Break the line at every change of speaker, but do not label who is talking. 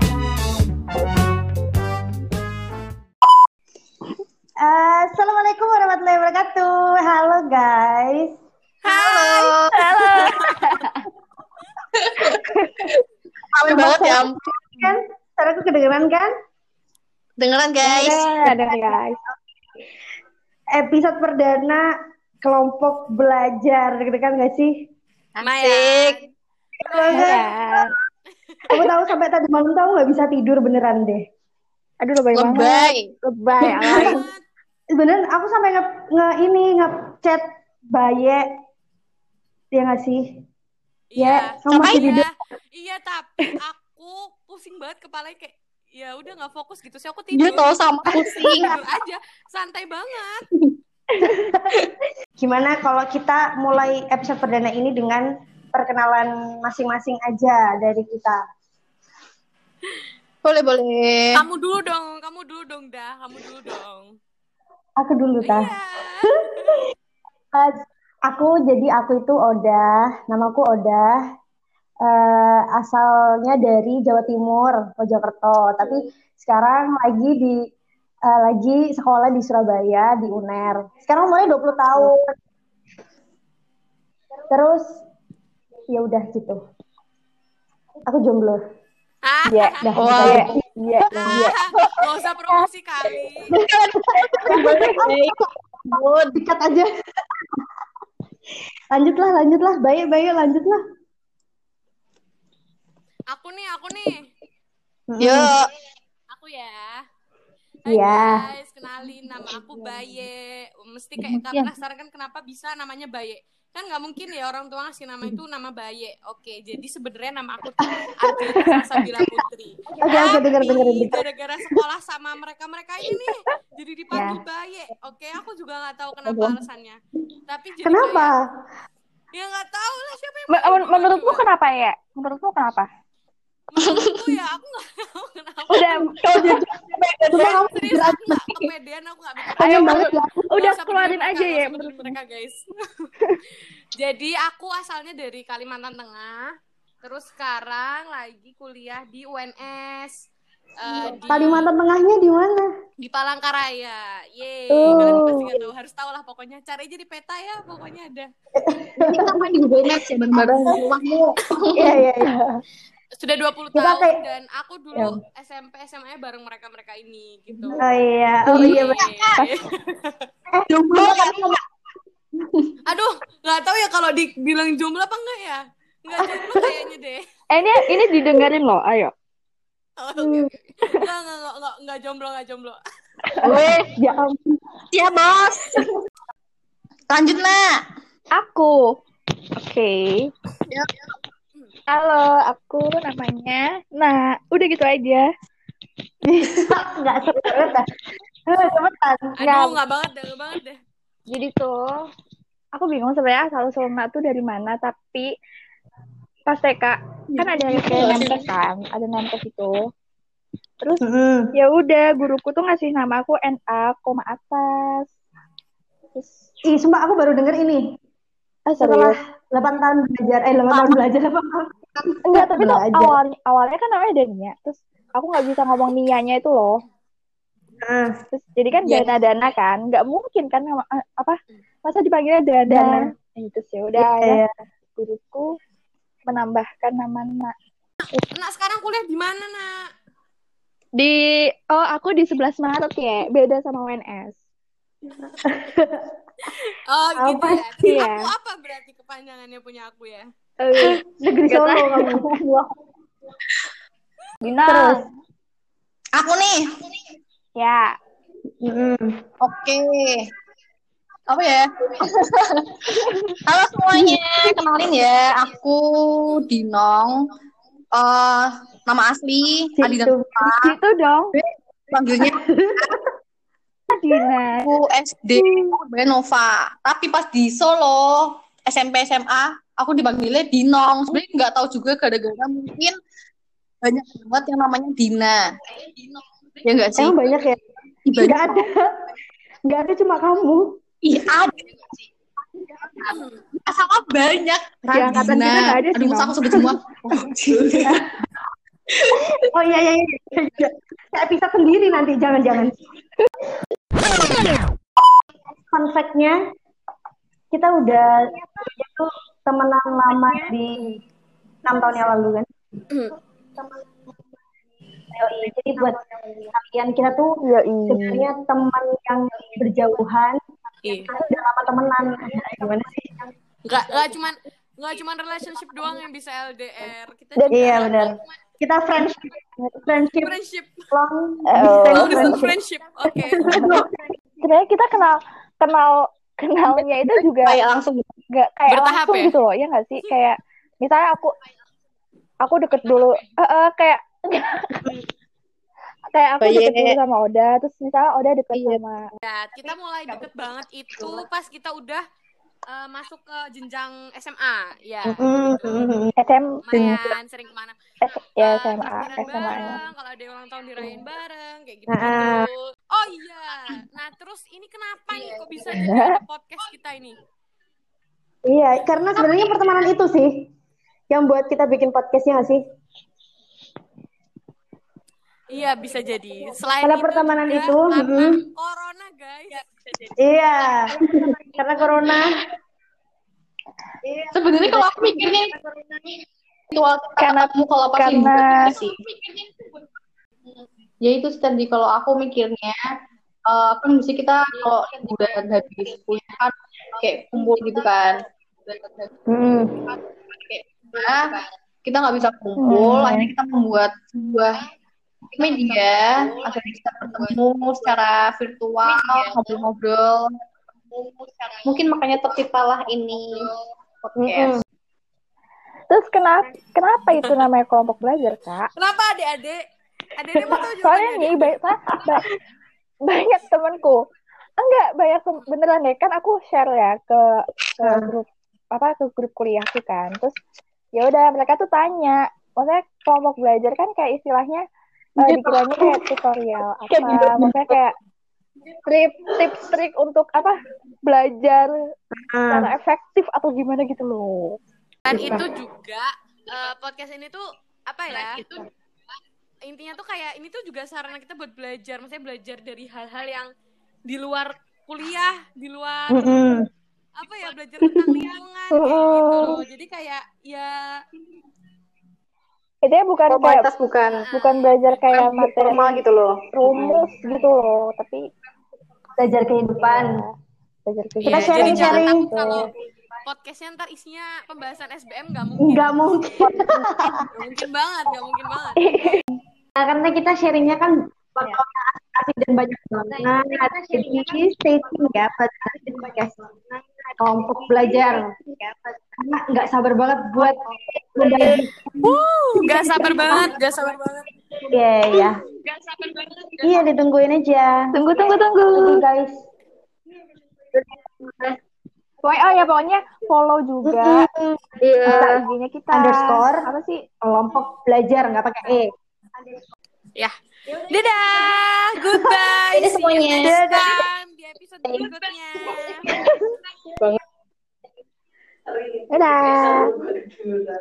Eh,
lucu banget ya ampun.
Kan? Suara aku kedengeran kan?
Dengeran
Iya,
guys.
Ada guys. Episode perdana kelompok belajar, gitu kan gak sih?
Asik.
Iya. Kamu tahu sampai tadi malam tahu nggak bisa tidur beneran deh.
Aduh lebay banget.
Lebay.
Lebay. alay.
Beneran aku sampai nge, nge ini ngechat baye ya nggak sih?
Iya.
kamu masih
Ngapain?
tidur.
Iya, iya tapi aku pusing banget kepalanya kayak ya udah nggak fokus gitu sih aku tidur.
Dia tau sama pusing.
Tidur aja, santai banget.
Gimana kalau kita mulai episode perdana ini dengan perkenalan masing-masing aja dari kita.
Boleh boleh.
Kamu dulu dong, kamu dulu dong dah, kamu dulu dong.
Aku dulu tah.
Iya.
Eh, aku jadi aku itu Oda, namaku Oda. Eh, asalnya dari Jawa Timur, Mojokerto, tapi sekarang lagi di eh, lagi sekolah di Surabaya di UNER. Sekarang umurnya 20 tahun. Terus ya udah gitu. Aku jomblo.
Ah,
Iya. Dah.
Wow.
Iya. Iya. Iya.
ah, nggak usah promosi kali.
Kan
Ampun.
Eh, Dikat aja. lanjutlah, lanjutlah. Baik, baik, lanjutlah.
Aku nih, aku nih.
Yuk.
Aku ya.
Iya.
guys, kenalin nama aku Baye. Mesti kayak
Iya.
penasaran kan kenapa bisa namanya Baye. Kan nggak mungkin ya orang tua ngasih nama itu nama Baye. Oke, jadi sebenarnya nama aku tuh Artika Sabila Putri.
Oke, oke,
Tapi
denger, denger, denger.
gara-gara sekolah sama mereka-mereka ini nih, jadi dipanggil
Iya.
Baye. Oke, aku juga nggak tahu kenapa alasannya. Tapi jadi
Kenapa?
kayak- ya nggak tahu lah siapa yang
Men- men-
panggil
Menurutmu
gua.
kenapa ya? Menurutmu kenapa?
Menurutku ya aku nggak tahu kenapa.
Udah,
Cuma kamu
Serius,
jujur
aku
aja.
nggak kepedean, aku nggak mikir.
ayo
Pengen banget
menurut-
ya.
udah
Nggak usah
keluarin
peduli
aja
mereka,
ya.
nggak usah peduli kan, mereka guys. Jadi aku asalnya dari Kalimantan Tengah, terus sekarang lagi kuliah di UNS eh, di,
Kalimantan Tengahnya di mana?
di Palangkaraya. Yeay,
Oh.
kalian pasti nggak tahu, harus tahu lah pokoknya. Cari aja di peta ya, pokoknya ada.
Kita main di Google Maps ya bareng-bareng.
Iya, iya, iya.
Sudah 20
Kita
tahun
kayak-
dan aku dulu SMP SMA bareng mereka-mereka ini gitu.
Oh iya, oh iya. bener.
Yeay.
Jomblo kan?
Aduh, nggak tahu ya kalau dibilang jumlah apa enggak ya? Nggak jumlah kayaknya deh.
Eh, ini ini didengerin loh, ayo.
Oh, oke, oke. Nggak, nggak, nggak, nggak, nggak jomblo, nggak jomblo.
Weh, ya ampun.
Siap bos. Lanjut nak.
Aku. Oke.
Yuk.
Halo, aku namanya. Nah, udah gitu aja.
Nggak seru dah. Eh, Cepetan.
Nggak.
Aduh, nggak banget deh, nggak banget deh.
Jadi tuh, aku bingung sebenarnya asal usulnya tuh dari mana, tapi pas TK kan ada kayak nempes kan, ada nempes itu. Terus
Mm-mm.
ya udah guruku tuh ngasih nama aku NA koma atas. Terus
Ih, sumpah aku baru denger ini.
ah,
Setelah
serius?
8 tahun belajar, eh 8 tahun belajar, 8 tahun.
Enggak, tapi tuh
belajar.
awalnya, awalnya kan namanya ada Nia. Terus aku nggak bisa ngomong Nianya itu loh.
Heeh.
Terus jadi kan
Iya.
dana-dana kan, nggak mungkin kan nama eh, apa? Masa dipanggilnya dana? Nah, Itu sih udah
Iya.
ya. Guruku menambahkan nama Na.
Nah, sekarang kuliah di mana, Nak?
Di oh aku di 11 Maret ya, beda sama UNS.
Oh, gitu
Apa
ya. Terus
sih ya?
aku apa berarti kepanjangannya punya aku ya?
Eh,
Negeri
Nggak
Solo
tahu.
kamu.
Gina.
Terus.
Aku nih.
Ya.
Mm-mm.
Oke. Apa ya? Halo semuanya, kenalin ya. Aku Dinong. Eh, nama asli Adina
Situ.
Gitu dong,
panggilnya
Dina.
aku SD Surabaya Nova. Tapi pas di Solo SMP SMA aku dipanggilnya Dinong. Sebenarnya nggak tahu juga gara-gara mungkin banyak banget yang namanya Dina. Ya enggak sih?
Emang banyak ya?
Ibadah
Nggak ada. Nggak ada cuma kamu.
Iya ada. Sama banyak. Nah,
Di angkatan kita nggak ada sih,
Aduh, masa
Mam.
aku sebut semua. Oh,
Oh iya, iya, iya. Saya pisah sendiri nanti, jangan-jangan. Fun fact-nya, kita udah itu temenan lama di 6 tahun yang lalu kan? Yoi. Jadi buat kalian kita tuh
Iya,
sebenarnya teman yang berjauhan
Iya.
kita udah lama temenan. Gimana sih?
Nggak nggak cuman nggak cuman relationship doang yang bisa LDR. Kita
Dan-
juga
Iya,
ada
benar.
cuman
Kita friendship friendship
Friendship.
long
Oh.
Oh,
distance
distance
friendship.
friendship. Oke.
sebenarnya kita kenal kenal kenalnya itu juga
Kayak langsung gitu.
nggak kayak
Bertahap
langsung
ya?
gitu loh ya nggak sih kayak misalnya aku aku deket dulu eh eh, kayak kayak aku
Kayak-
deket dulu sama Oda terus misalnya Oda deket
Iya.
sama
Ya, kita mulai deket banget itu pas kita udah eh, masuk ke jenjang SMA, ya.
Hmm.
SM
Lumayan sering kemana Eh,
ya SMA
takbiran
SMA
bareng, kalau ada yang ulang tahun dirayain bareng, kayak gitu.
Nah.
Oh iya. Nah, terus ini kenapa nih kok bisa jadi ada podcast kita ini?
Iya, karena sebenarnya pertemanan itu sih yang buat kita bikin podcastnya nggak sih?
Iya, bisa jadi. Selain
Karena pertemanan
juga
itu,
karena
mm.
corona, guys.
Iya, karena corona.
Sebenarnya kalau aku mikirnya ritual kita
Karena-
ketemu kalau pas
karena-
liburan itu sih. Ya itu sih tadi kalau aku mikirnya eh, kan mesti kita kalau liburan habis kuliah kan kayak kumpul gitu kan.
Mm.
Nah, kita nggak bisa kumpul,
Hmm.
akhirnya kita membuat sebuah media agar kita bertemu secara virtual, ngobrol-ngobrol. Mungkin makanya terciptalah ini podcast.
terus kenapa kenapa itu namanya kelompok belajar kak
Kenapa adik-adik? Adik-adik mau tahu kan
soalnya
jawabannya.
nih banyak ba- ba- banyak temanku enggak banyak tem- beneran deh kan aku share ya ke ke grup apa ke grup kuliahku kan terus ya udah mereka tuh tanya maksudnya kelompok belajar kan kayak istilahnya eh,
Iya.
dikiranya kayak tutorial apa maksudnya kayak trip tips trik untuk apa belajar secara efektif atau gimana gitu loh
Dan
Iya.
itu juga eh, podcast ini tuh apa ya? Intinya tuh kayak ini tuh juga sarana kita buat belajar, maksudnya belajar dari hal-hal yang di luar kuliah, di luar
Mm-mm.
apa ya belajar tentang lingkungan kayak gitu loh. Jadi kayak ya
itu bukan kayak
Formalitas bukan
bukan belajar kayak materi
formal gitu loh. Hmm.
rumus gitu loh tapi
Belajar kehidupan.
belajar
Kita
ya,
sharing,
jadi jangan
sharing.
takut kalau podcastnya ntar isinya pembahasan SBM nggak mungkin,
Nggak mungkin.
nggak mungkin banget, nggak mungkin banget.
Nah, karena kita sharingnya kan
Iya.
bakal asik dan banyak
Nah,
banget.
kan
Jadi stay tune ya buat podcast
Nah,
kelompok belajar. Karena nggak sabar banget buat mendaki.
Wuh, nggak sabar banget, nggak sabar banget.
Iya, iya. Iya, ditungguin aja.
tunggu tunggu tunggu
Tunggu guys.
pokoknya oh ya pokoknya follow juga
Iya.
IG-nya kita
Ya. Underscore.
apa sih
Kelompok belajar nggak pakai e.
Ya. Dadah. Goodbye.
Dadah semuanya.
See you next time di episode berikutnya.
dadah